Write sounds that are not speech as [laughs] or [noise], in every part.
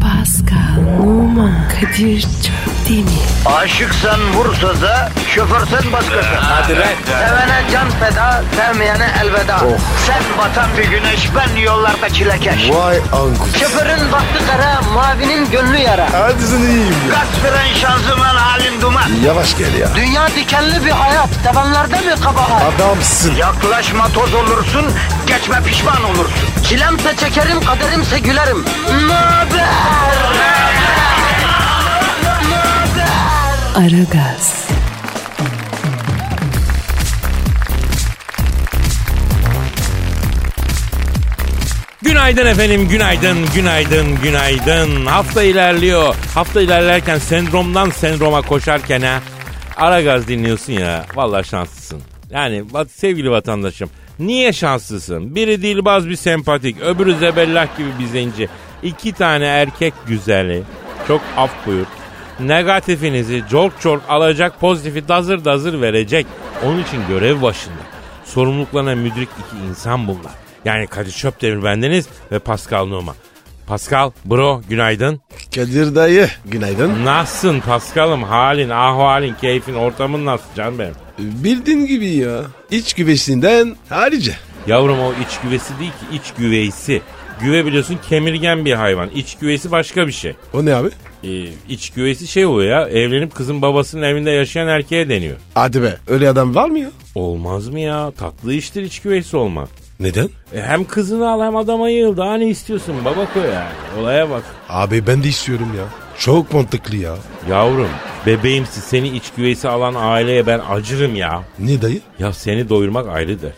Pascal, Oman, Kadir çok değil mi? Aşıksan vursa da şoförsen başkasın. Hadi lan. Oh. Sevene can feda, sevmeyene elveda. Sen batan bir güneş, ben yollarda çilekeş. Vay anku. Şoförün baktı kara, mavinin gönlü yara. Hadi sen iyiyim ya. Kasperen şanzıman halin duman. Yavaş gel ya. Dünya dikenli bir hayat, sevenlerde mi kabahar? Adamsın. Yaklaşma toz olursun, geçme pişman olursun. Çilemse çekerim, kaderimse gülerim. Möber! Aragaz, Günaydın efendim, günaydın, günaydın, günaydın. Hafta ilerliyor. Hafta ilerlerken sendromdan sendroma koşarken ha. Ara gaz dinliyorsun ya. Vallahi şanslısın. Yani va- sevgili vatandaşım. Niye şanslısın? Biri dilbaz bir sempatik, öbürü zebellah gibi bir zenci. İki tane erkek güzeli. Çok af buyur. Negatifinizi çok çok alacak, pozitifi dazır dazır verecek. Onun için görev başında. Sorumluluklarına müdrik iki insan bunlar. Yani Kadir Çöpdemir bendeniz ve Pascal Numa. Pascal, bro günaydın. Kadir dayı. Günaydın. Nasılsın Pascal'ım? Halin, ahvalin, keyfin, ortamın nasıl canım benim? Bildiğin gibi ya. İç güveçliğinden harici. Yavrum o iç güvesi değil ki iç güveysi. Güve biliyorsun kemirgen bir hayvan. İç güveysi başka bir şey. O ne abi? Ee, iç güveysi şey oluyor ya evlenip kızın babasının evinde yaşayan erkeğe deniyor. Hadi be. Öyle adam var mı ya? Olmaz mı ya? Tatlı iştir iç güveysi olmak. Neden? E, hem kızını al hem adama yığıl. Daha ne istiyorsun baba koy yani. Olaya bak. Abi ben de istiyorum ya. Çok mantıklı ya. Yavrum bebeğimsi seni iç güveysi alan aileye ben acırım ya. Ne dayı? Ya seni doyurmak ayrıdır.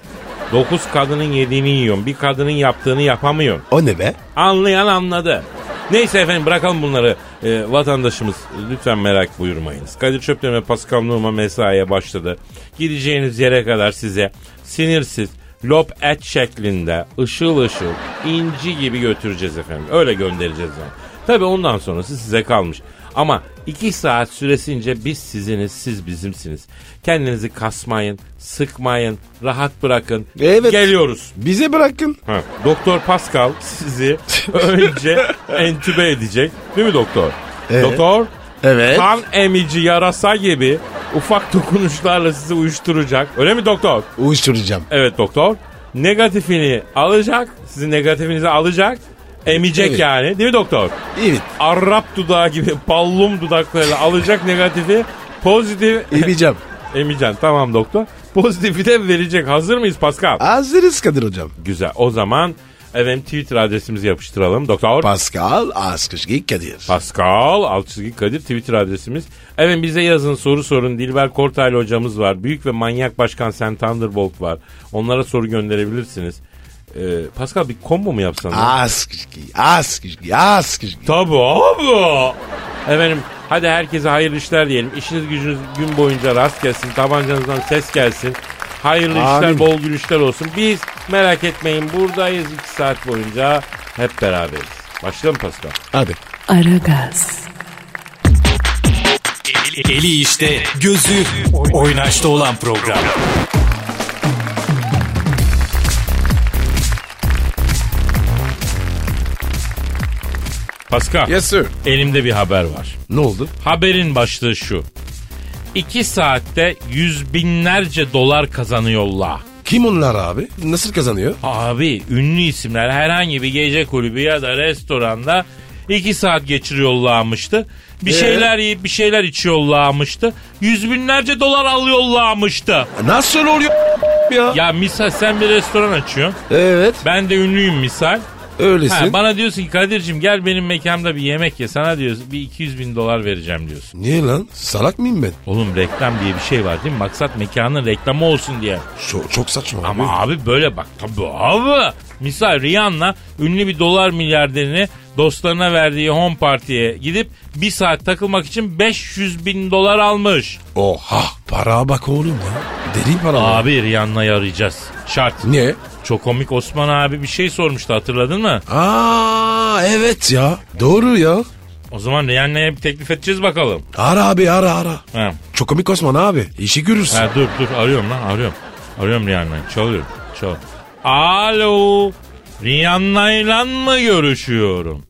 Dokuz kadının yediğini yiyorsun. Bir kadının yaptığını yapamıyorsun. O ne be? Anlayan anladı. Neyse efendim bırakalım bunları. Ee, vatandaşımız lütfen merak buyurmayınız. Kadir Çöpten ve Pascal Nurma mesaiye başladı. Gideceğiniz yere kadar size sinirsiz, lop et şeklinde, ışıl ışıl, inci gibi götüreceğiz efendim. Öyle göndereceğiz yani. Tabii ondan sonrası size kalmış. Ama iki saat süresince biz siziniz, siz bizimsiniz. Kendinizi kasmayın, sıkmayın, rahat bırakın. Evet. Geliyoruz. Bize bırakın. Ha, Doktor Pascal [laughs] sizi önce entübe edecek. Değil mi doktor? Evet. Doktor Evet. kan emici yarasa gibi ufak dokunuşlarla sizi uyuşturacak. Öyle mi doktor? Uyuşturacağım. Evet doktor. Negatifini alacak. Sizin negatifinizi alacak. Emecek Evet. yani. Değil mi doktor? Evet. Arap dudağı gibi ballum dudaklarıyla alacak negatifi. Pozitif İbicem. [laughs] emeceksin. Tamam doktor. Pozitifi de verecek. Hazır mıyız Pascal? Hazırız Kadir hocam. Güzel. O zaman efendim Twitter adresimizi yapıştıralım. Doktor Pascal Askışki Kadir. Pascal Alçızgi Kadir Twitter adresimiz. Evet bize yazın soru sorun. Dilber Kortaylı hocamız var. Büyük ve manyak başkan Sen Thunderbolt var. Onlara soru gönderebilirsiniz. Ee, Pascal bir combo mu yapsan? Askışki. Askışki. Askışki. Tabii abi. Efendim hadi herkese hayırlı işler diyelim. İşiniz gücünüz gün boyunca rast gelsin. Tabancanızdan ses gelsin. Hayırlı Amin. işler, bol gülüşler olsun. Biz merak etmeyin buradayız 2 saat boyunca. Hep beraberiz. Başlayalım Pascal. Hadi. Aragaz, Eli işte, gözü oynaşta olan program. Pascal Yes sir. elimde bir haber var. Ne oldu? Haberin başlığı şu. 2 saatte yüz binlerce dolar kazanıyorlar. Kim onlar abi? Nasıl kazanıyor? Abi ünlü isimler herhangi bir gece kulübü ya da restoranda iki saat geçiriyorlarmıştı. Bir Ee? şeyler yiyip bir şeyler içiyorlarmıştı. Yüz binlerce dolar alıyorlarmıştı. Nasıl oluyor ya? Ya misal sen bir restoran açıyorsun. Evet. Ben de ünlüyüm misal. Öylesin. Ha, bana diyorsun ki Kadir'cim gel benim mekanda bir yemek ye. Sana diyorsun bir 200 bin dolar vereceğim diyorsun. Niye lan? Salak mıyım ben? Oğlum reklam diye bir şey var değil mi? Maksat mekanın reklamı olsun diye. Çok, çok saçma abi. Ama abi böyle bak tabii abi. Misal Rihanna ünlü bir dolar milyarderini dostlarına verdiği home partiye gidip bir saat takılmak için 500 bin dolar almış. Oha. Para bak oğlum ya. Deli para. var. Abi Rihanna'yı arayacağız. Şart. Niye? Çok komik Osman abi bir şey sormuştu hatırladın mı? Aa evet ya. Doğru ya. O zaman Rihanna'ya bir teklif edeceğiz bakalım. Ara abi ara ara. Ha. Çok komik Osman abi. İşi görürsün. ha dur dur arıyorum lan arıyorum. Arıyorum Rihanna'yı çalıyorum. Çal. Alo. Rihanna'yla mı görüşüyorum?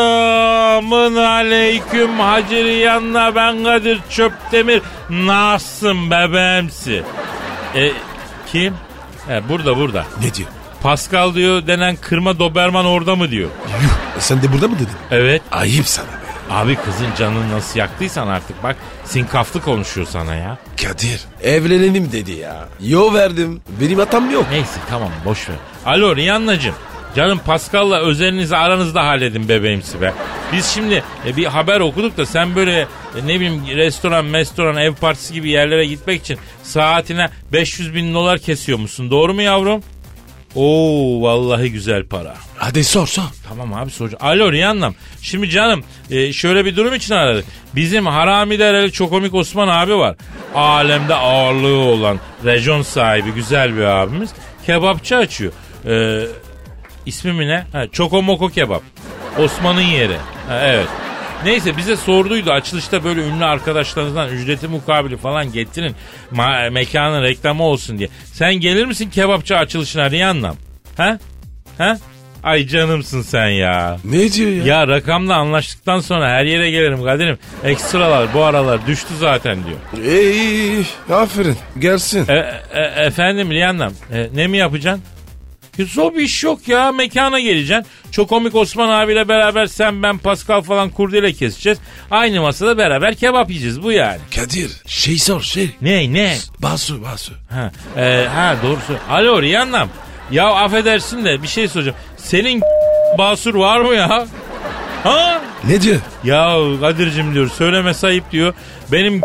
Selamın aleyküm Haciriyan'la ben Kadir Çöptemir. Nasılsın bebeğimsi? E, kim? He, burada burada. Ne diyor? Pascal diyor denen kırma Doberman orada mı diyor. Yuh E, sen de burada mı dedin? Evet. Ayıp sana be. Abi kızın canını nasıl yaktıysan artık bak sinkaflı konuşuyor sana ya. Kadir evlenelim dedi ya. Yo verdim. Benim hatam yok. Neyse tamam boş ver. Alo Rihanna'cığım. Canım Pascal'la özelinizi aranızda halledin bebeğimsi be. Biz şimdi e, bir haber okuduk da sen böyle e, ne bileyim restoran, restoran, ev partisi gibi yerlere gitmek için saatine 500 bin dolar kesiyormuşsun. Doğru mu yavrum? Oo vallahi güzel para. Hadi sor sor. Tamam abi soracağım. Alo Rihanna'm. Şimdi canım e, şöyle bir durum için aradık. Bizim harami dereli çok komik Osman abi var. Alemde ağırlığı olan rejon sahibi güzel bir abimiz. Kebapçı açıyor. E, ismi mi ne? Ha, Çoko Moko Kebap. Osman'ın yeri. Ha, evet. Neyse bize sorduydu açılışta böyle ünlü arkadaşlarınızdan ücreti mukabili falan getirin. Ma- mekanın reklamı olsun diye. Sen gelir misin kebapçı açılışına Rihanna'm? Ha? Ha? Ay canımsın sen ya. Ne diyor ya? Ya rakamla anlaştıktan sonra her yere gelirim Kadir'im. Ekstralar bu aralar düştü zaten diyor. İyi, iyi, iyi. aferin. Gelsin. E, e- efendim Rihanna'm e, ne mi yapacaksın? Ya zor bir iş yok ya mekana geleceksin. Çok komik Osman abiyle beraber sen ben Pascal falan kurdele keseceğiz. Aynı masada beraber kebap yiyeceğiz bu yani. Kadir şey sor şey. Ne ne? Basu basu. Ha, e, ha doğrusu. Alo Rihanna'm. Ya affedersin de bir şey soracağım. Senin basur var mı ya? Ha? Ne diyor? Ya Kadir'cim diyor söyleme sayıp diyor. Benim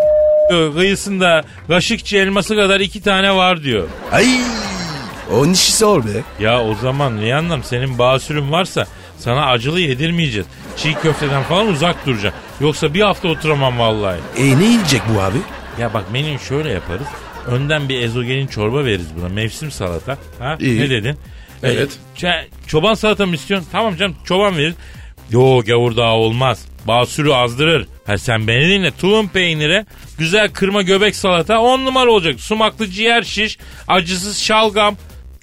diyor, kıyısında kaşıkçı elması kadar iki tane var diyor. Ay. Onun işi sor be. Ya o zaman Rihanna'm senin basürün varsa sana acılı yedirmeyeceğiz. Çiğ köfteden falan uzak duracaksın. Yoksa bir hafta oturamam vallahi. E ne yiyecek bu abi? Ya bak menüyü şöyle yaparız. Önden bir ezogelin çorba veririz buna. Mevsim salata. Ha? İyi. Ne dedin? Evet. Ee, ç- çoban salata mı istiyorsun? Tamam canım çoban veririz. Yo gavur daha olmaz. Basürü azdırır. Ha sen beni dinle. Tulum peyniri, güzel kırma göbek salata on numara olacak. Sumaklı ciğer şiş, acısız şalgam.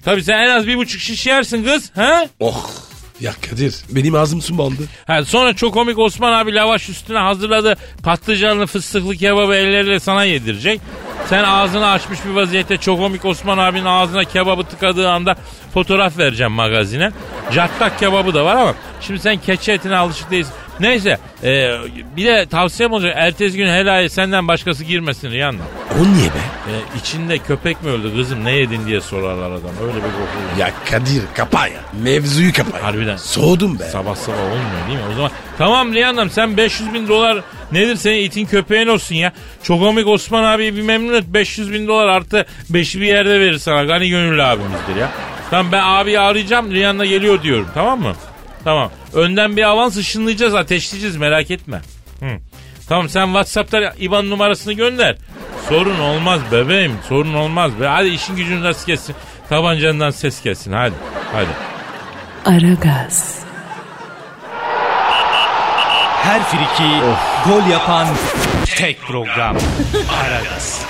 Tabii sen en az bir buçuk şiş yersin kız. Ha? Oh. Ya Kadir benim ağzım sulandı. Ha, sonra çok komik Osman abi lavaş üstüne hazırladı. Patlıcanlı fıstıklı kebabı elleriyle sana yedirecek. Sen ağzını açmış bir vaziyette çok komik Osman abinin ağzına kebabı tıkadığı anda fotoğraf vereceğim magazine. Cattak kebabı da var ama şimdi sen keçi etine alışık değilsin. Neyse e, bir de tavsiyem olacak. Ertesi gün helaya senden başkası girmesin Rihanna. O niye be? E, içinde köpek mi öldü kızım ne yedin diye sorarlar adam. Öyle bir koku. Ya Kadir kapa ya. Mevzuyu kapa ya. Harbiden. Soğudum be. Sabah sabah olmuyor değil mi? O zaman tamam Rihanna'm sen 500 bin dolar nedir senin itin köpeğin olsun ya. Çok komik Osman abi bir memnun et 500 bin dolar artı 5'i bir yerde verir sana. Gani gönüllü abimizdir ya. Tamam ben abi arayacağım Rihanna geliyor diyorum tamam mı? Tamam. Önden bir avans ışınlayacağız ateşleyeceğiz merak etme. Hı. Tamam sen Whatsapp'ta IBAN numarasını gönder. Sorun olmaz bebeğim sorun olmaz. Be. Hadi işin gücün rast gelsin. Tabancandan ses gelsin hadi. Hadi. Aragaz, Her friki gol yapan tek program. Aragaz.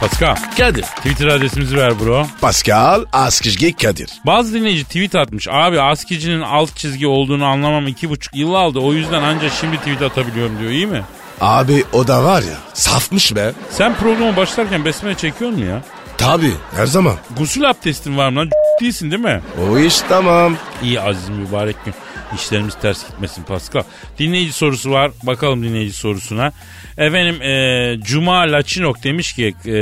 Pascal. Kadir. Twitter adresimizi ver bro. Pascal Askizgi Kadir. Bazı dinleyici tweet atmış. Abi askicinin alt çizgi olduğunu anlamam iki buçuk yıl aldı. O yüzden ancak şimdi tweet atabiliyorum diyor. İyi mi? Abi o da var ya safmış be. Sen programa başlarken besmele çekiyor mu ya? Tabi her zaman. Gusül abdestin var mı lan? [laughs] değilsin değil mi? O iş tamam. İyi aziz mübarek gün. İşlerimiz ters gitmesin Pascal. Dinleyici sorusu var. Bakalım dinleyici sorusuna. Efendim e, Cuma Laçinok demiş ki e, e,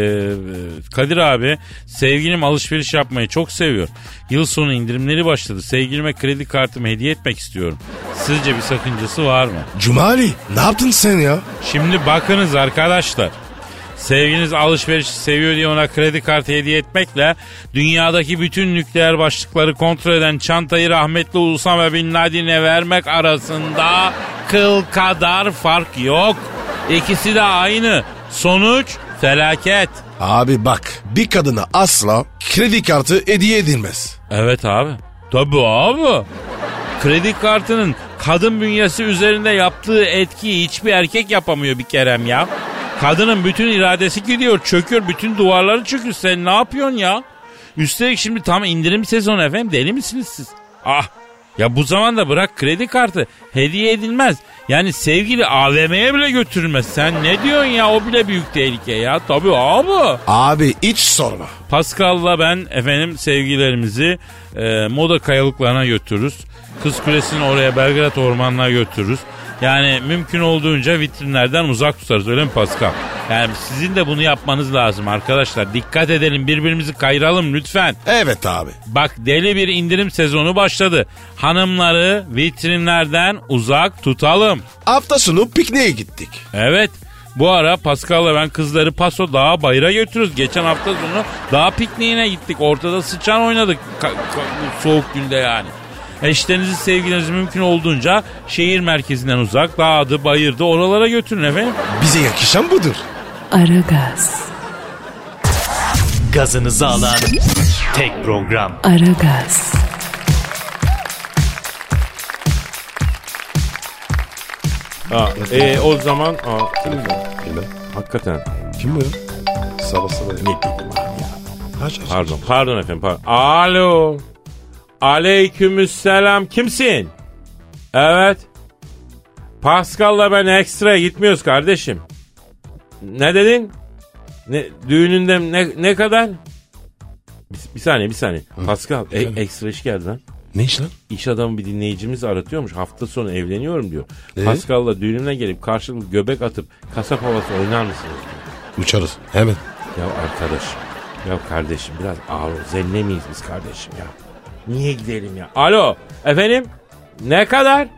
Kadir abi sevgilim alışveriş yapmayı çok seviyor. Yıl sonu indirimleri başladı. Sevgilime kredi kartımı hediye etmek istiyorum. Sizce bir sakıncası var mı? Cumali ne yaptın sen ya? Şimdi bakınız arkadaşlar. Sevginiz alışveriş seviyor diye ona kredi kartı hediye etmekle dünyadaki bütün nükleer başlıkları kontrol eden çantayı rahmetli Usame Bin Laden'e vermek arasında kıl kadar fark yok. İkisi de aynı. Sonuç felaket. Abi bak bir kadına asla kredi kartı hediye edilmez. Evet abi. Tabii abi. Kredi kartının kadın bünyesi üzerinde yaptığı etkiyi hiçbir erkek yapamıyor bir kerem ya. Kadının bütün iradesi gidiyor çöküyor bütün duvarları çöküyor sen ne yapıyorsun ya? Üstelik şimdi tam indirim sezonu efendim deli misiniz siz? Ah ya bu zamanda bırak kredi kartı hediye edilmez. Yani sevgili AVM'ye bile götürülmez. Sen ne diyorsun ya o bile büyük tehlike ya. Tabii abi. Abi hiç sorma. Pascal'la ben efendim sevgilerimizi e, moda kayalıklarına götürürüz. Kız Kulesi'ni oraya Belgrad Ormanı'na götürürüz. Yani mümkün olduğunca vitrinlerden uzak tutarız öyle mi Pascal? Yani sizin de bunu yapmanız lazım arkadaşlar. Dikkat edelim birbirimizi kayıralım lütfen. Evet abi. Bak deli bir indirim sezonu başladı. Hanımları vitrinlerden uzak tutalım. Hafta sonu pikniğe gittik. Evet. Bu ara Pascal'la ben kızları paso dağa bayıra götürürüz. Geçen hafta sonu dağ pikniğine gittik. Ortada sıçan oynadık ka- ka- bu soğuk günde yani. Eşlerinizi sevgilinizi mümkün olduğunca şehir merkezinden uzak dağdı bayırdı oralara götürün efendim. Bize yakışan budur. Aragaz, Gazınızı alan tek program. Aragaz, e, o zaman hakikaten Kim bu ya? Sabah sabah. Ne Aç aç. pardon pardon efendim pardon. Alo aleykümselam kimsin? Evet Pascal'la ben ekstra gitmiyoruz kardeşim. Ne dedin? Ne, düğününde ne, ne kadar? Bir, bir saniye bir saniye. Pascal e- ekstra iş geldi lan. Ne iş lan? İş adamı bir dinleyicimiz aratıyormuş. Hafta sonu evleniyorum diyor. Pascal'la düğününe gelip karşılıklı göbek atıp kasap havası oynar mısınız? Uçarız. Hemen. Ya arkadaşım, ya kardeşim biraz ağır ol. Zelle miyiz biz kardeşim ya? Niye gidelim ya? Alo, efendim? Ne kadar?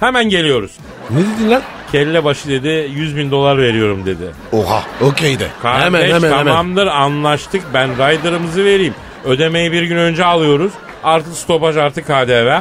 Hemen geliyoruz. Ne dedin lan? Kelle başı dedi 100 bin dolar veriyorum dedi. Oha. Okey de. Kardeş tamamdır anlaştık ben rider'ımızı vereyim. Ödemeyi bir gün önce alıyoruz. Artı stopaj artı KDV.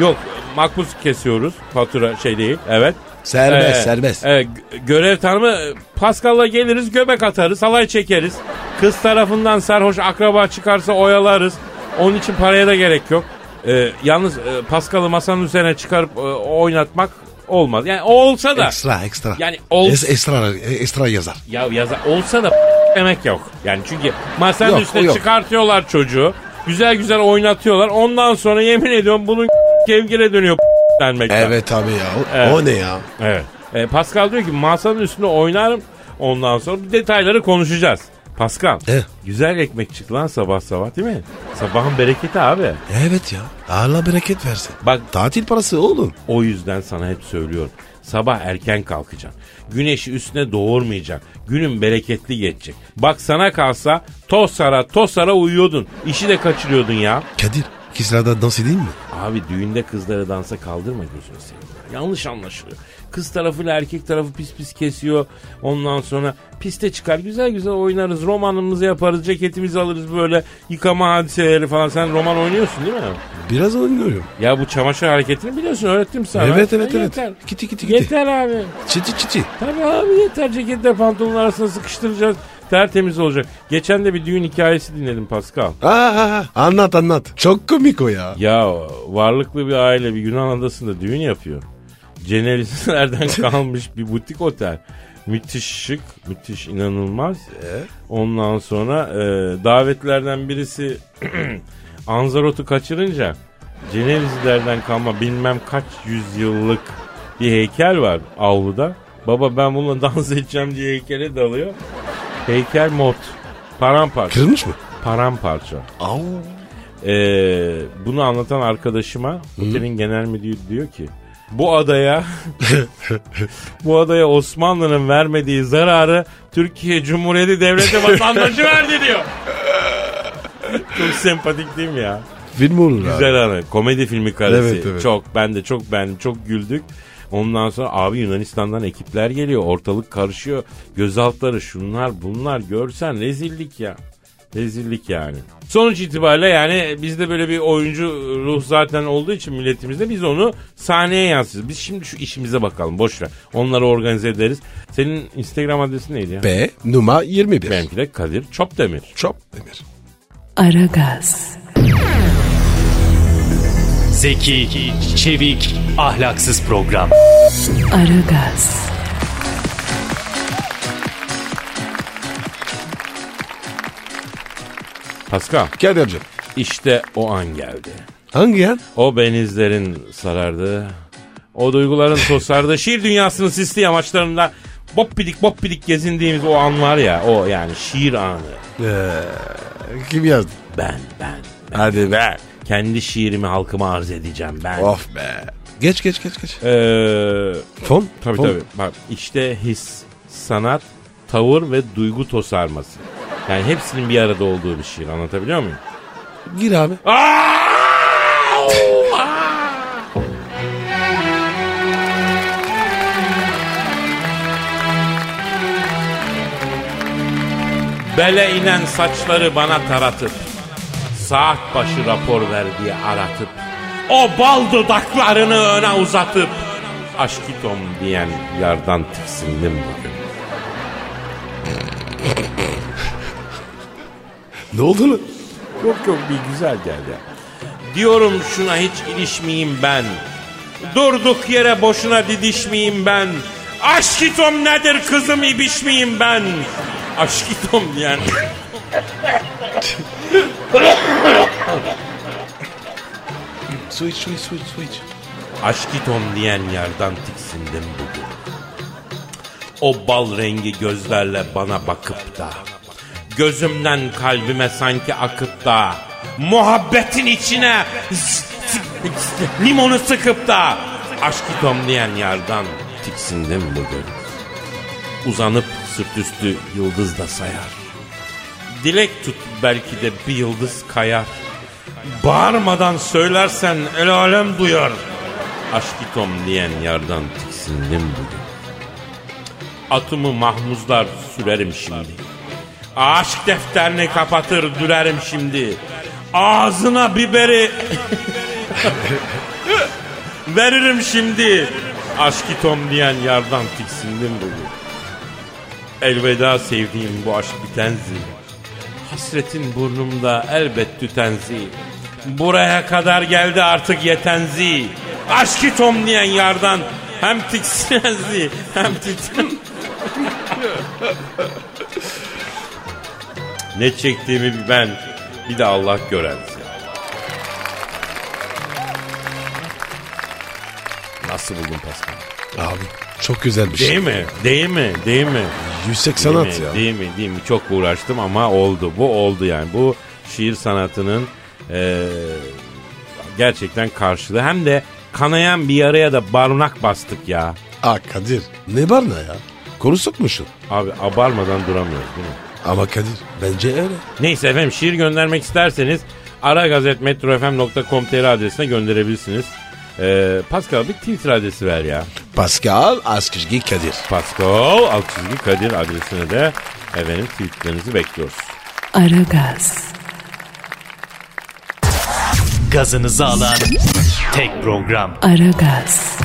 Yok makbuz kesiyoruz fatura şey değil evet. Serbest Ee, serbest. e, gö- görev tanımı e, Pascal'la geliriz göbek atarız halay çekeriz. Kız tarafından sarhoş akraba çıkarsa oyalarız. Onun için paraya da gerek yok. E, yalnız e, Pascal'ı masanın üzerine çıkarıp e, oynatmak olmaz. Yani o olsa da Ekstra ekstra. yani ol- Es- Ekstra, ekstra yazar. ya yaza olsa da demek yok. Yani çünkü masanın Yok, üstüne o yok. çıkartıyorlar çocuğu. Güzel güzel oynatıyorlar. Ondan sonra yemin ediyorum bunun kevgire dönüyor [laughs] denmekten. Evet abi ya. O, Evet. o ne ya? Evet. E, Pascal diyor ki masanın üstünde oynarım. Ondan sonra detayları konuşacağız. Pascal. He. Güzel ekmek çıktı lan sabah sabah değil mi? Sabahın bereketi abi. Evet ya. Allah bereket versin. Bak Tatil parası oğlum. O yüzden sana hep söylüyorum. Sabah erken kalkacaksın. Güneşi üstüne doğurmayacak. Günün bereketli geçecek. Bak sana kalsa tosara tosara uyuyordun. İşi de kaçırıyordun ya. Kadir. Kisra'da dans edeyim mi? Abi düğünde kızları dansa kaldırma gözünü seveyim. ya. Yanlış anlaşılıyor. Kız tarafıyla erkek tarafı pis pis kesiyor. Ondan sonra piste çıkar güzel güzel oynarız. Romanımızı yaparız. Ceketimizi alırız böyle yıkama hadiseleri falan. Sen roman oynuyorsun değil mi? Biraz oynuyorum. Ya bu çamaşır hareketini biliyorsun öğrettim sana. Evet Ya evet evet. yeter. Kiti kiti kiti. Yeter abi. Çiti çiti. Tabii abi yeter ceketle pantolonun arasına sıkıştıracağız. Tertemiz olacak. Geçen de bir düğün hikayesi dinledim Pascal. Aa, anlat anlat. Çok komik o ya. Ya varlıklı bir aile bir Yunan adasında düğün yapıyor. Cenevizlerden [laughs] kalmış bir butik otel. Müthiş şık, müthiş inanılmaz. Ondan sonra e, davetlerden birisi [clears throat] Anzarot'u kaçırınca Cenevizlerden kalma bilmem kaç yüzyıllık bir heykel var avluda. Baba ben bununla dans edeceğim diye heykele dalıyor. Heykel mot. Paramparça. Kırılmış mı? Paramparça. Au. Ee, bunu anlatan arkadaşıma otelin genel müdürü diyor ki bu adaya [laughs] bu adaya Osmanlı'nın vermediği zararı Türkiye Cumhuriyeti Devleti vatandaşı verdi diyor. Çok sempatik değil mi ya? Film olur abi. Güzel anı. Komedi filmi karesi. Evet, evet. Çok ben de çok ben çok güldük. Ondan sonra abi Yunanistan'dan ekipler geliyor. Ortalık karışıyor. Gözaltları şunlar bunlar görsen rezillik ya. Rezillik yani. Sonuç itibariyle yani bizde böyle bir oyuncu ruh zaten olduğu için milletimizde biz onu sahneye yansıtırız. Biz şimdi şu işimize bakalım boş ver. Onları organize ederiz. Senin Instagram adresin neydi ya? B numara 21. Benimki de Kadir Çopdemir. Çok demir. Aragaz, Zeki, çevik, ahlaksız program. Aragaz, Pascal Kadir'cim. işte o an geldi. Hangi yer? O benizlerin sarardı. O duyguların tosardı. Şiir dünyasının sisli yamaçlarında boppidik boppidik gezindiğimiz o an var ya o yani şiir anı. Kim yazdı? Ben ben. Hadi Oh. be. Kendi şiirimi halkıma arz edeceğim ben. Of be. Geç geç geç geç. Ee, Fon? tabii Fon. tabii. Bak işte his, sanat, tavır ve duygu tosarması. Yani hepsinin bir arada olduğu bir şiir anlatabiliyor muyum? Gir abi. Bele inen saçları bana taratıp Saat başı rapor verdiği aratıp O bal dudaklarını öne uzatıp Aşkitom diyen yardan tiksindim bugün [laughs] Ne oldu lan? Yok yok bir güzel geldi. Diyorum şuna hiç ilişmeyeyim ben. Durduk yere boşuna didişmeyeyim ben. Aşkitom nedir kızım ibişmeyeyim ben. Aşkitom diyen. Su iç su iç su iç su iç. Aşkitom diyen yerden tiksindim bugün. O bal rengi gözlerle bana bakıp da Gözümden kalbime sanki akıp da Muhabbetin içine limonu sıkıp da Aşkitom diyen yerden tiksindim bugün. Uzanıp sırt üstü yıldız da sayar. Dilek tut belki de bir yıldız kayar. Bağırmadan söylersen el alem duyar. Aşkitom diyen yardan tiksindim bugün. Atımı mahmuzlar sürerim şimdi. Aşk defterini kapatır dürerim şimdi. Ağzına biberi [laughs] veririm şimdi. Aşkitom diyen yardan tiksindim bugün. Elveda sevdiğim bu aşk bitenzi. Hasretin burnumda elbet tütenzi. Buraya kadar geldi artık yetenzi. Aşkı Tom diyen yardan hem tiksinenzi hem tiksin. [laughs] ne çektiğimi ben bir de Allah görenzi. Nasıl buldun Pascal? Abi çok güzel bir şey. Değil mi? Değil mi? Değil mi? Yüksek Değil sanat mi? ya. Değil mi? Değil mi? Çok uğraştım ama oldu. Bu oldu yani. Bu şiir sanatının eee, gerçekten karşılığı. Hem de kanayan bir yaraya da barınak bastık ya. Aa Kadir ne var ne ya? Konu sokmuşsun. Abi abarmadan duramıyoruz değil mi? Ama Kadir bence öyle. Neyse efendim şiir göndermek isterseniz aragazetmetrofm.com.tr adresine gönderebilirsiniz. Eee Pascal bir Twitter adresi ver ya. Pascal Askışgi Kadir. Pascal alt çizgi Kadir adresine de efendim tweetlerinizi bekliyoruz. Aragaz, Gazınızı alan tek program. Aragaz,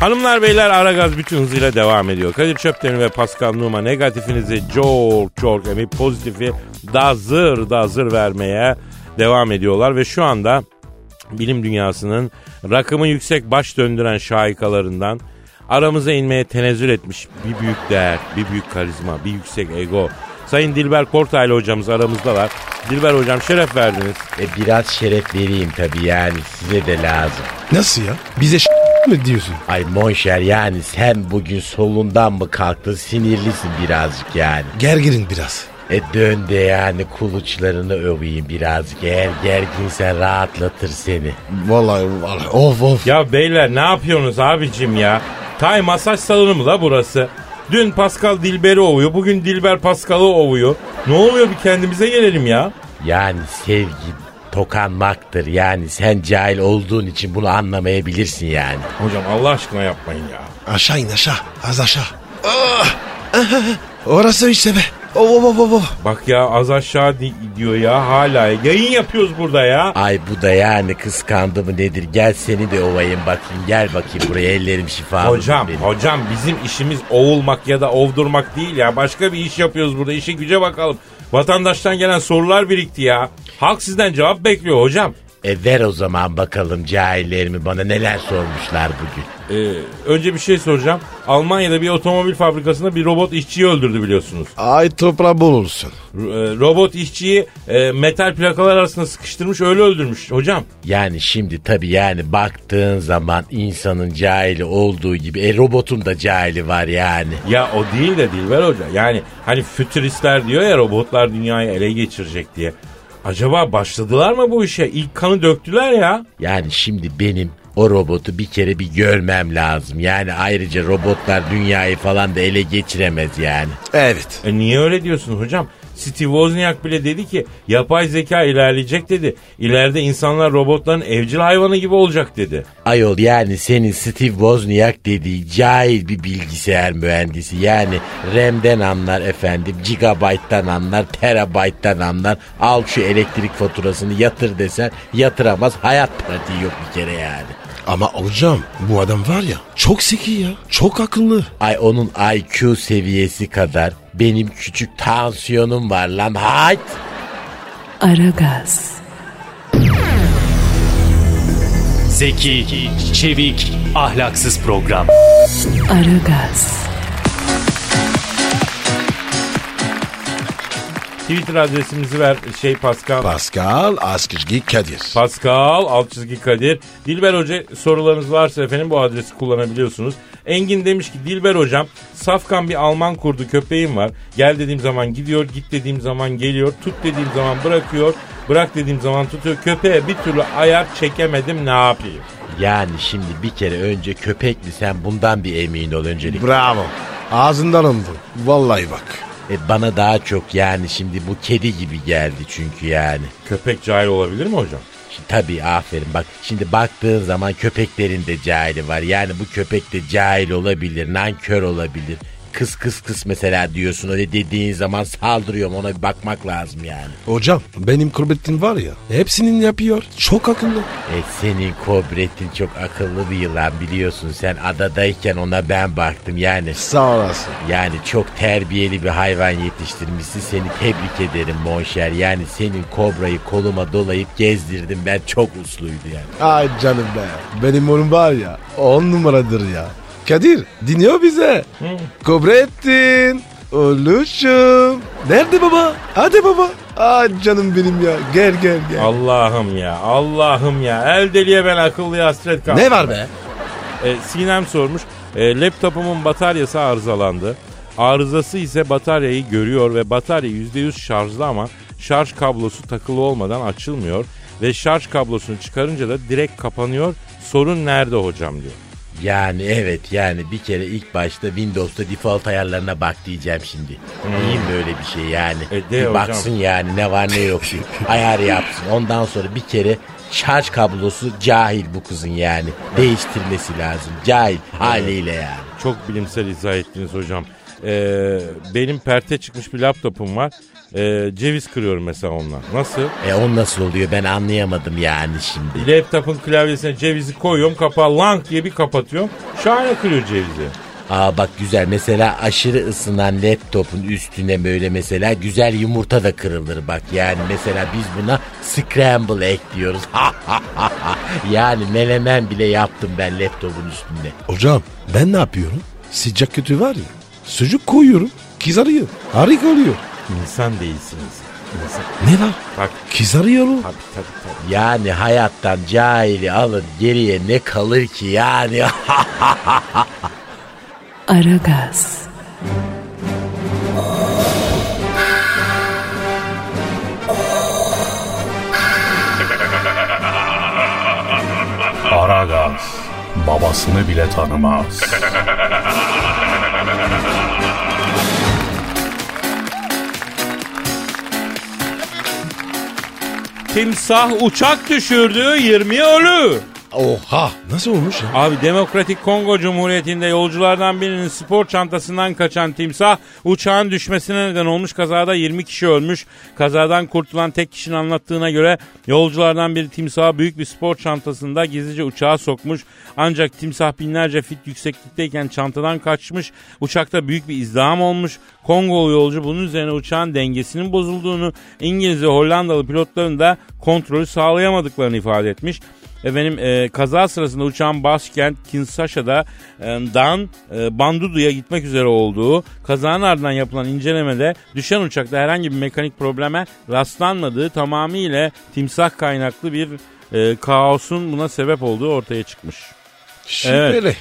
Hanımlar beyler Aragaz bütün hızıyla devam ediyor. Kadir Çöptemir ve Pascal Numa negatifinizi çok çok emip pozitifi da zır da zır vermeye devam ediyorlar. Ve şu anda bilim dünyasının rakımı yüksek baş döndüren şahikalarından aramıza inmeye tenezzül etmiş bir büyük değer, bir büyük karizma, bir yüksek ego. Sayın Dilber Kortaylı hocamız aramızdalar. Dilber hocam şeref verdiniz. E biraz şeref vereyim tabii yani size de lazım. Nasıl ya? Bize ş- mi diyorsun? Ay Monşer yani sen bugün solundan mı kalktın sinirlisin birazcık yani. Gergirin biraz. E dön de yani kuluçlarını öveyim birazcık. Eğer gerginsen rahatlatır seni. Vallahi, vallahi of of. Ya beyler ne yapıyorsunuz abicim ya? Tay masaj salonu mu la burası? Dün Pascal Dilber'i ovuyor, bugün Dilber Pascal'ı ovuyor. Ne oluyor bir kendimize gelelim ya. Yani sevgi tokanmaktır yani sen cahil olduğun için bunu anlamayabilirsin yani. Hocam Allah aşkına yapmayın ya. Aşağı in aşağı. Az aşağı. Ah! Orası işte be. Of of of of, of. Bak ya az aşağı di- diyor ya hala. Yayın yapıyoruz burada ya. Ay bu da yani kıskandı mı nedir gel seni de ovayım bakayım gel bakayım buraya ellerim şifa. Hocam, hocam bizim işimiz ovulmak ya da ovdurmak değil ya. Başka bir iş yapıyoruz burada. İşe güce bakalım. Vatandaştan gelen sorular birikti ya. Halk sizden cevap bekliyor hocam. E ver o zaman bakalım cahillerimi bana neler sormuşlar bugün. Ee, önce bir şey soracağım. Almanya'da bir otomobil fabrikasında bir robot işçiyi öldürdü biliyorsunuz. Ay toprağı bol olsun. Ro- e, robot işçiyi e, metal plakalar arasında sıkıştırmış öyle öldürmüş hocam. Yani şimdi tabii yani baktığın zaman insanın cahili olduğu gibi e, robotun da cahili var yani. Ya o değil de Dilber Hoca. Yani hani fütüristler diyor ya robotlar dünyayı ele geçirecek diye. Acaba başladılar mı bu işe? İlk kanı döktüler ya. Yani şimdi benim o robotu bir kere bir görmem lazım. Yani ayrıca robotlar dünyayı falan da ele geçiremez yani. Evet. E niye öyle diyorsun hocam? Steve Wozniak bile dedi ki yapay zeka ilerleyecek dedi. İleride insanlar robotların evcil hayvanı gibi olacak dedi. Ayol yani senin Steve Wozniak dediği cahil bir bilgisayar mühendisi. Yani RAM'den anlar efendim, gigabayttan anlar, terabayttan anlar. Al şu elektrik faturasını yatır desen yatıramaz. Hayat pratiği yok bir kere yani. Ama hocam bu adam var ya çok zeki ya. Çok akıllı. Ay onun IQ seviyesi kadar benim küçük tansiyonum var lan. Hayt! Aragaz, Zeki, çevik, ahlaksız program. Aragaz, Twitter adresimizi ver şey Pascal. Pascal Askizgi Kadir. Pascal alt çizgi Kadir. Dilber Hoca sorularınız varsa efendim bu adresi kullanabiliyorsunuz. Engin demiş ki Dilber Hocam safkan bir Alman kurdu köpeğim var. Gel dediğim zaman gidiyor, git dediğim zaman geliyor, tut dediğim zaman bırakıyor, bırak dediğim zaman tutuyor. Köpeğe bir türlü ayar çekemedim ne yapayım? Yani şimdi bir kere önce köpek mi sen bundan bir emin ol öncelik. Bravo. Ağzından alındı. Vallahi bak. E, bana daha çok yani şimdi bu kedi gibi geldi çünkü yani. Köpek cahil olabilir mi hocam? Şimdi Tabii aferin bak şimdi baktığın zaman köpeklerin de cahili var. Yani bu köpek de cahil olabilir, nankör olabilir. Kıs kıs kıs mesela diyorsun öyle dediğin zaman saldırıyorum ona bir bakmak lazım yani. Hocam benim kurbettin var ya hepsinin yapıyor. Çok akıllı. E senin kobretin çok akıllı bir yılan biliyorsun sen adadayken ona ben baktım yani. Sağ olasın. Yani çok terbiyeli bir hayvan yetiştirmişsin seni tebrik ederim Monşer. Yani senin kobrayı koluma dolayıp gezdirdim ben çok usluydu yani. Ay canım be. Benim oğlum var ya on numaradır ya. Kadir dinliyor bize. Kobrettin. Oluşum. Nerede baba? Hadi baba. Ay canım benim ya. Gel gel gel. Allah'ım ya, Allah'ım ya. El deliye ben akıllıya hasret kaldım. ne var be? E, Sinem sormuş. E, laptopumun bataryası arızalandı. Arızası ise bataryayı görüyor ve batarya %100 şarjlı ama şarj kablosu takılı olmadan açılmıyor. Ve şarj kablosunu çıkarınca da direkt kapanıyor. Sorun nerede hocam diyor. Yani evet yani bir kere ilk başta Windows'ta default ayarlarına bak diyeceğim şimdi. İyi mi öyle bir şey yani? Hmm. E, de bir hocam. baksın yani ne var ne yok diye. [laughs] Ayar yapsın. Ondan sonra bir kere şarj kablosu cahil bu kızın yani. Değiştirmesi lazım. Cahil haliyle yani. Çok bilimsel izah ettiniz hocam. E, benim perte çıkmış bir laptopum var. E, ceviz kırıyorum mesela onunla. Nasıl? E o nasıl oluyor ben anlayamadım yani şimdi. Laptopun klavyesine cevizi koyuyorum kapağı lang diye bir kapatıyorum. Şahane kırıyor cevizi. Aa bak güzel mesela aşırı ısınan laptopun üstüne böyle mesela güzel yumurta da kırılır bak yani mesela biz buna scramble egg diyoruz. [laughs] yani melemen bile yaptım ben laptopun üstünde. Hocam ben ne yapıyorum? Sıcak kötü var ya. Sucuk koyuyorum. Kızarıyor. Harika oluyor. İnsan değilsiniz. İnsan. Ne var? Bak Kızarıyor o. tabii tabii tabii. Yani hayattan cahili alın geriye ne kalır ki yani. [laughs] Aragaz, Aragaz babasını bile tanımaz. Timsah uçak düşürdü 20 ölü. Oha. Nasıl olmuş ya? Abi Demokratik Kongo Cumhuriyeti'nde yolculardan birinin spor çantasından kaçan timsah uçağın düşmesine neden olmuş. Kazada 20 kişi ölmüş. Kazadan kurtulan tek kişinin anlattığına göre yolculardan biri timsahı büyük bir spor çantasında gizlice uçağa sokmuş. Ancak timsah binlerce fit yükseklikteyken çantadan kaçmış. Uçakta büyük bir izdiham olmuş. Kongolu yolcu bunun üzerine uçağın dengesinin bozulduğunu, İngiliz ve Hollandalı pilotların da kontrolü sağlayamadıklarını ifade etmiş. Efendim e, kaza sırasında uçağın başkent Kinshasa'da e, Dan e, Bandudu'ya gitmek üzere olduğu, kazanın ardından yapılan incelemede düşen uçakta herhangi bir mekanik probleme rastlanmadığı tamamıyla timsah kaynaklı bir e, kaosun buna sebep olduğu ortaya çıkmış. Şüpheli.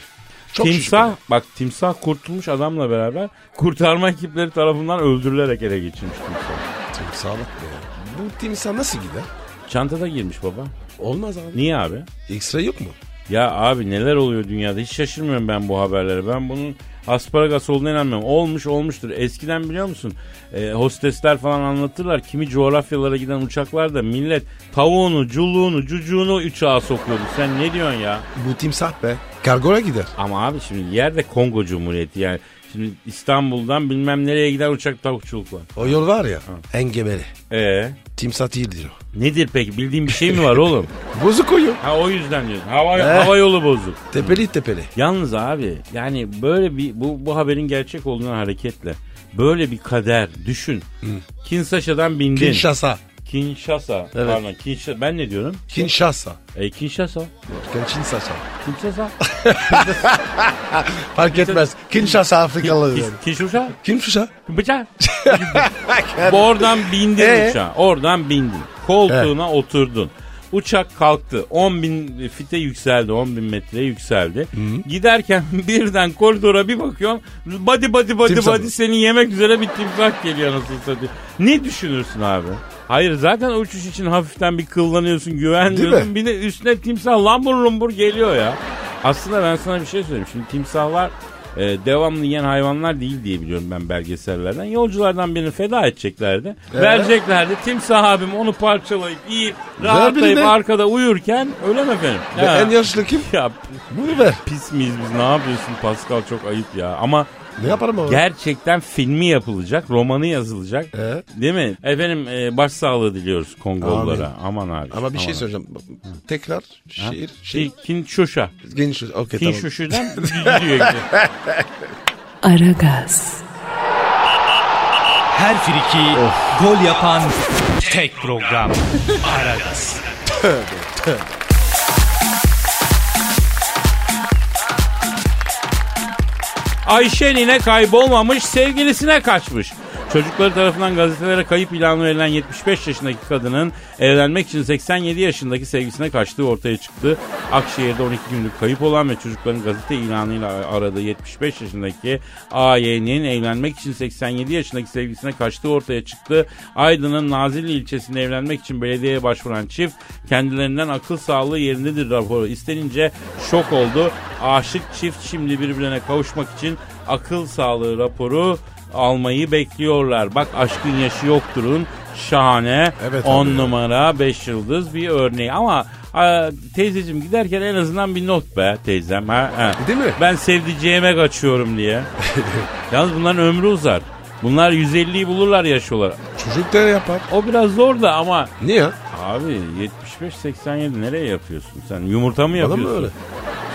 Çok timsah bak timsah kurtulmuş adamla beraber kurtarma ekipleri tarafından öldürülerek ele geçirmiş timsah. şüpheli. Timsah bak be. Bu timsah nasıl gider? Çantada girmiş baba. Olmaz abi. Niye abi? X-ray yok mu? Ya abi neler oluyor dünyada hiç şaşırmıyorum ben bu haberlere. Ben bunun asparagas olduğuna inanmıyorum. Olmuş olmuştur. Eskiden biliyor musun e, hostesler falan anlatırlar. Kimi coğrafyalara giden uçaklarda millet tavuğunu, culuğunu, cucuğunu uçağa sokuyordu. Sen ne diyorsun ya? Bu timsah be. Kargola gider. Ama abi şimdi yer de Kongo Cumhuriyeti yani. Şimdi İstanbul'dan bilmem nereye giden uçak tavukçuluk var. O yol var ya. Engebeli. Ee, Timsah değildir o. nedir peki? Bildiğin bir şey mi var oğlum? Bozuk o yol. Ha o yüzden diyorsun. Hava, Eh. hava yolu bozuk. Tepeli tepeli. Yalnız abi yani böyle bir bu, bu haberin gerçek olduğuna hareketle böyle bir kader düşün. Kinshasa'dan bindin. Kinshasa. Kinshasa. Evet. Pardon Kinshasa. Ben ne diyorum? Kinshasa. E, Kinshasa. Kinshasa. [laughs] Kinshasa. Fark etmez. Kinshasa Afrikalı. yani. Kinshasa. Kinshasa. [laughs] Bıçak. Oradan bindin Ee? uçağa. Oradan bindin. Koltuğuna oturdun. Uçak kalktı. 10 bin fite yükseldi. 10 bin metreye yükseldi. Giderken [laughs] birden koridora bir bakıyorum. Body body body Timsah body mı? seni yemek üzere bir timsah geliyor nasıl satıyor. Ne düşünürsün abi? Hayır zaten uçuş için hafiften bir kıllanıyorsun güvenmiyorsun. mi? Bir de üstüne timsah lambur lumbur geliyor ya. Aslında ben sana bir şey söyleyeyim. Şimdi timsahlar e, devamlı yiyen hayvanlar değil diye biliyorum ben belgesellerden. Yolculardan birini feda edeceklerdi. Ee? Vereceklerdi. Timsah abim onu parçalayıp yiyip rahatlayıp birine. arkada uyurken öyle mi efendim? Ve Ha. en yaşlı kim? ya Bunu ver. pis miyiz biz ne yapıyorsun Pascal çok ayıp ya. Ama Ne yaparım abi? gerçekten filmi yapılacak, romanı yazılacak. Ee? Değil mi? Efendim e, başsağlığı diliyoruz Kongollara. Aman abi. Ama bir şey aman abi. söyleyeceğim. Tekrar şiir, şey, Şey, Kinshasa. geniş. Okey E, tamam. Kinshasa'dan [laughs] gidiyor. Aragaz, Her friki gol yapan tek program. Aragaz. Ayşe Nine kaybolmamış, sevgilisine kaçmış. Çocukları tarafından gazetelere kayıp ilanı verilen 75 yaşındaki kadının evlenmek için 87 yaşındaki sevgisine kaçtığı ortaya çıktı. Akşehir'de 12 günlük kayıp olan ve çocukların gazete ilanıyla aradığı 75 yaşındaki AY'nin evlenmek için 87 yaşındaki sevgisine kaçtığı ortaya çıktı. Aydın'ın Nazilli ilçesinde evlenmek için belediyeye başvuran çift kendilerinden akıl sağlığı yerindedir raporu istenince şok oldu. Aşık çift şimdi birbirine kavuşmak için akıl sağlığı raporu almayı bekliyorlar. Bak aşkın yaşı yokturun şahane Evet 10 abi. numara 5 yıldız bir örneği ama a, teyzeciğim giderken en azından bir not be teyzem. Ha, ha. Değil mi? Ben sevdiceğime kaçıyorum diye. [laughs] Yalnız bunların ömrü uzar. Bunlar 150'yi bulurlar yaş olarak. Çocuk da yapar. O biraz zor da ama Niye ya? abi 75-87 nereye yapıyorsun sen? Yumurta mı Bana yapıyorsun? mı öyle?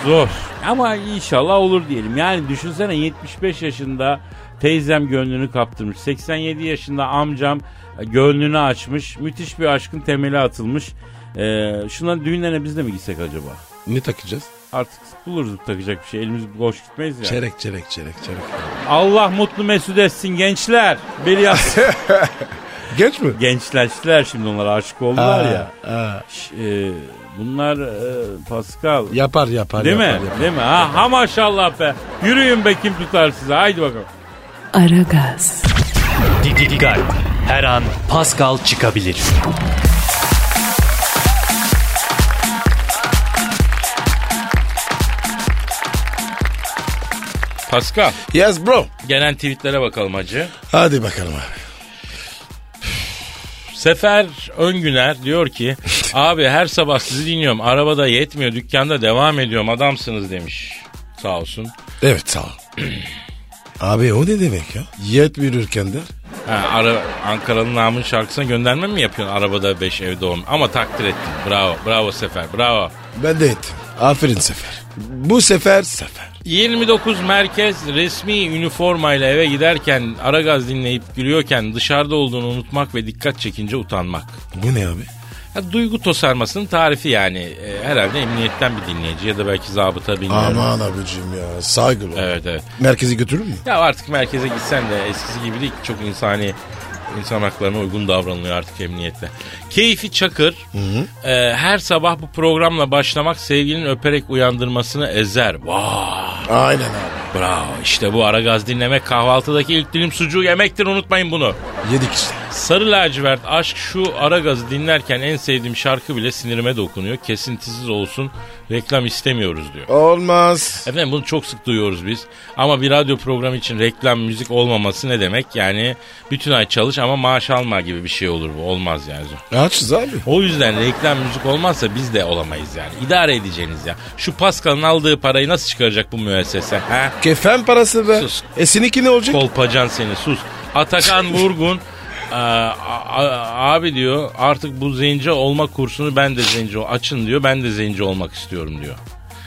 Zor. Ama inşallah olur diyelim. Yani düşünsene 75 yaşında teyzem gönlünü kaptırmış. 87 yaşında amcam e, gönlünü açmış. Müthiş bir aşkın temeli atılmış. Ee, şuna düğünlerine biz de mi gitsek acaba? Ne takacağız? Artık buluruz takacak bir şey. Elimiz boş gitmeyiz ya. Çerek çerek çerek çerek. Allah mutlu mesut etsin gençler. [laughs] Beli yaz- Geç mi? Gençleştiler şimdi onlara aşık oldular ya. ha. Ş- e, bunlar e, Pascal. Yapar yapar. Değil mi? yapar, yapar. Değil mi? Ha, ha maşallah be. Yürüyün be kim tutar sizi. Haydi bakalım. Aragaz, Didi Gal. Her an Pascal çıkabilir. Pascal. Yes bro. Gelen tweetlere bakalım hacı. Hadi bakalım abi. [laughs] Sefer Öngüner diyor ki Abi her sabah sizi dinliyorum. Arabada yetmiyor. Dükkanda devam ediyorum. Adamsınız demiş. Sağ olsun. Evet sağ ol. [clears throat] Abi o ne demek ya? Yetmiyor İskender. Ha, ara, Ankara'nın namın şarkısına gönderme mi yapıyorsun arabada 5 evde 10? Ama takdir ettim. Bravo. Bravo Sefer. Bravo. Ben de ettim. Aferin Sefer. Bu sefer sefer. 29 merkez resmi üniformayla eve giderken Aragaz dinleyip gülüyorken dışarıda olduğunu unutmak ve dikkat çekince utanmak. Bu ne abi? Ya, duygu tosarmasının tarifi yani. E, herhalde emniyetten bir dinleyici ya da belki zabıta bilmiyorum. Aman abicim ya saygılı. ol. Evet evet. Merkezi götürür mü? Ya artık merkeze gitsen de eskisi gibi değil ki çok insani insan haklarına uygun davranılıyor artık emniyette. Keyfi Çakır e, her sabah bu programla başlamak sevgilinin öperek uyandırmasını ezer. Vay Aynen abi. bravo işte bu ara gaz dinlemek kahvaltıdaki ilk dilim sucuğu yemektir unutmayın bunu. Yedik işte. Sarı lacivert aşk şu ara gazı dinlerken en sevdiğim şarkı bile sinirime dokunuyor. Kesintisiz olsun reklam istemiyoruz diyor. Olmaz. Efendim bunu çok sık duyuyoruz biz. Ama bir radyo programı için reklam müzik olmaması ne demek? Yani bütün ay çalış ama maaş alma gibi bir şey olur bu. Olmaz yani. Açız abi. O yüzden reklam müzik olmazsa biz de olamayız yani. İdare edeceğiniz ya. Şu Pascal'ın aldığı parayı nasıl çıkaracak bu müessese? Ha? Kefen parası be. Sus. E seninki ne olacak? Kolpacan seni sus. Atakan Vurgun "Aa, a- a- abi diyor artık bu zenci olma kursunu ben de zenci ol- açın diyor ben de zenci olmak istiyorum diyor.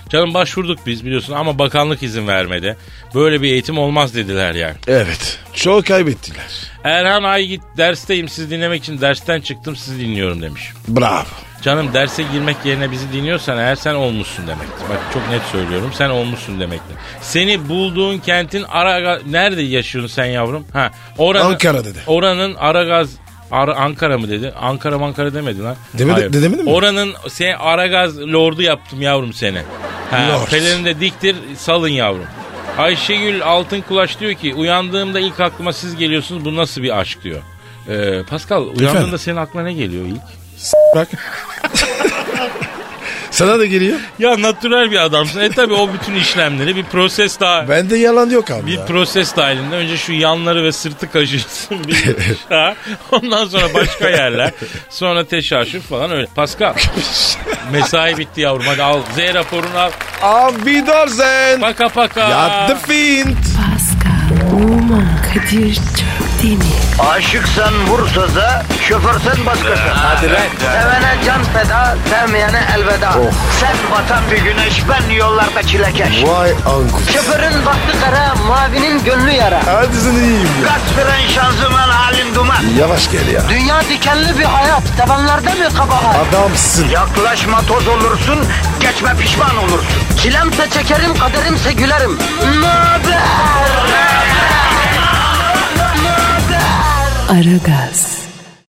Canım başvurduk biz biliyorsun ama bakanlık izin vermedi. Böyle bir eğitim olmaz dediler yani. Evet. Çok kaybettiler. Erhan ay git dersteyim sizi dinlemek için dersten çıktım sizi dinliyorum demiş. Bravo. Canım derse girmek yerine bizi dinliyorsan eğer sen olmuşsun demektir. Bak çok net söylüyorum sen olmuşsun demektir. Seni bulduğun kentin ara nerede yaşıyorsun sen yavrum? Ha, oranın, Ankara dedi. Oranın Aragaz Ar- Ankara mı dedi? Ankara mı Ankara demedi lan. Demedi- Hayır. de- demedi mi? Oranın se Aragaz lordu yaptım yavrum seni. Ha, Lord. pelerini de diktir salın yavrum. Ayşegül Altın Kulaş diyor ki uyandığımda ilk aklıma siz geliyorsunuz bu nasıl bir aşk diyor. Ee, Pascal uyandığında Efendim? senin aklına ne geliyor ilk? Bak. [laughs] Sana da geliyor. Ya natürel bir adamsın. E tabi o bütün işlemleri bir proses daha... Bende yalan yok abi Bir ya. proses dahilinde önce şu yanları ve sırtı kaşırsın. Bir, ha? Ondan sonra başka yerler. Sonra teşaşür falan öyle. Pascal. Mesai bitti yavrum. Hadi al Z raporunu al. Abi Dorzen. Paka paka. Yattı fint. Pascal, Oman, Kadir çok değil mi? Aşıksan vursa da, şoförsen başkasın. Ee, Hadi lan. Sevene can feda, sevmeyene elveda. Oh. Sen batan bir güneş, ben yollarda çilekeş. Vay anku. Şoförün baktı kara, mavinin gönlü yara. Hadi sen iyiyim ya. Kasperen şanzıman halin duman. Yavaş gel ya. Dünya dikenli bir hayat, sevenlerde mi kabahar? Adamsın. Yaklaşma toz olursun, geçme pişman olursun. Çilemse çekerim, kaderimse gülerim. Möber! Aragaz.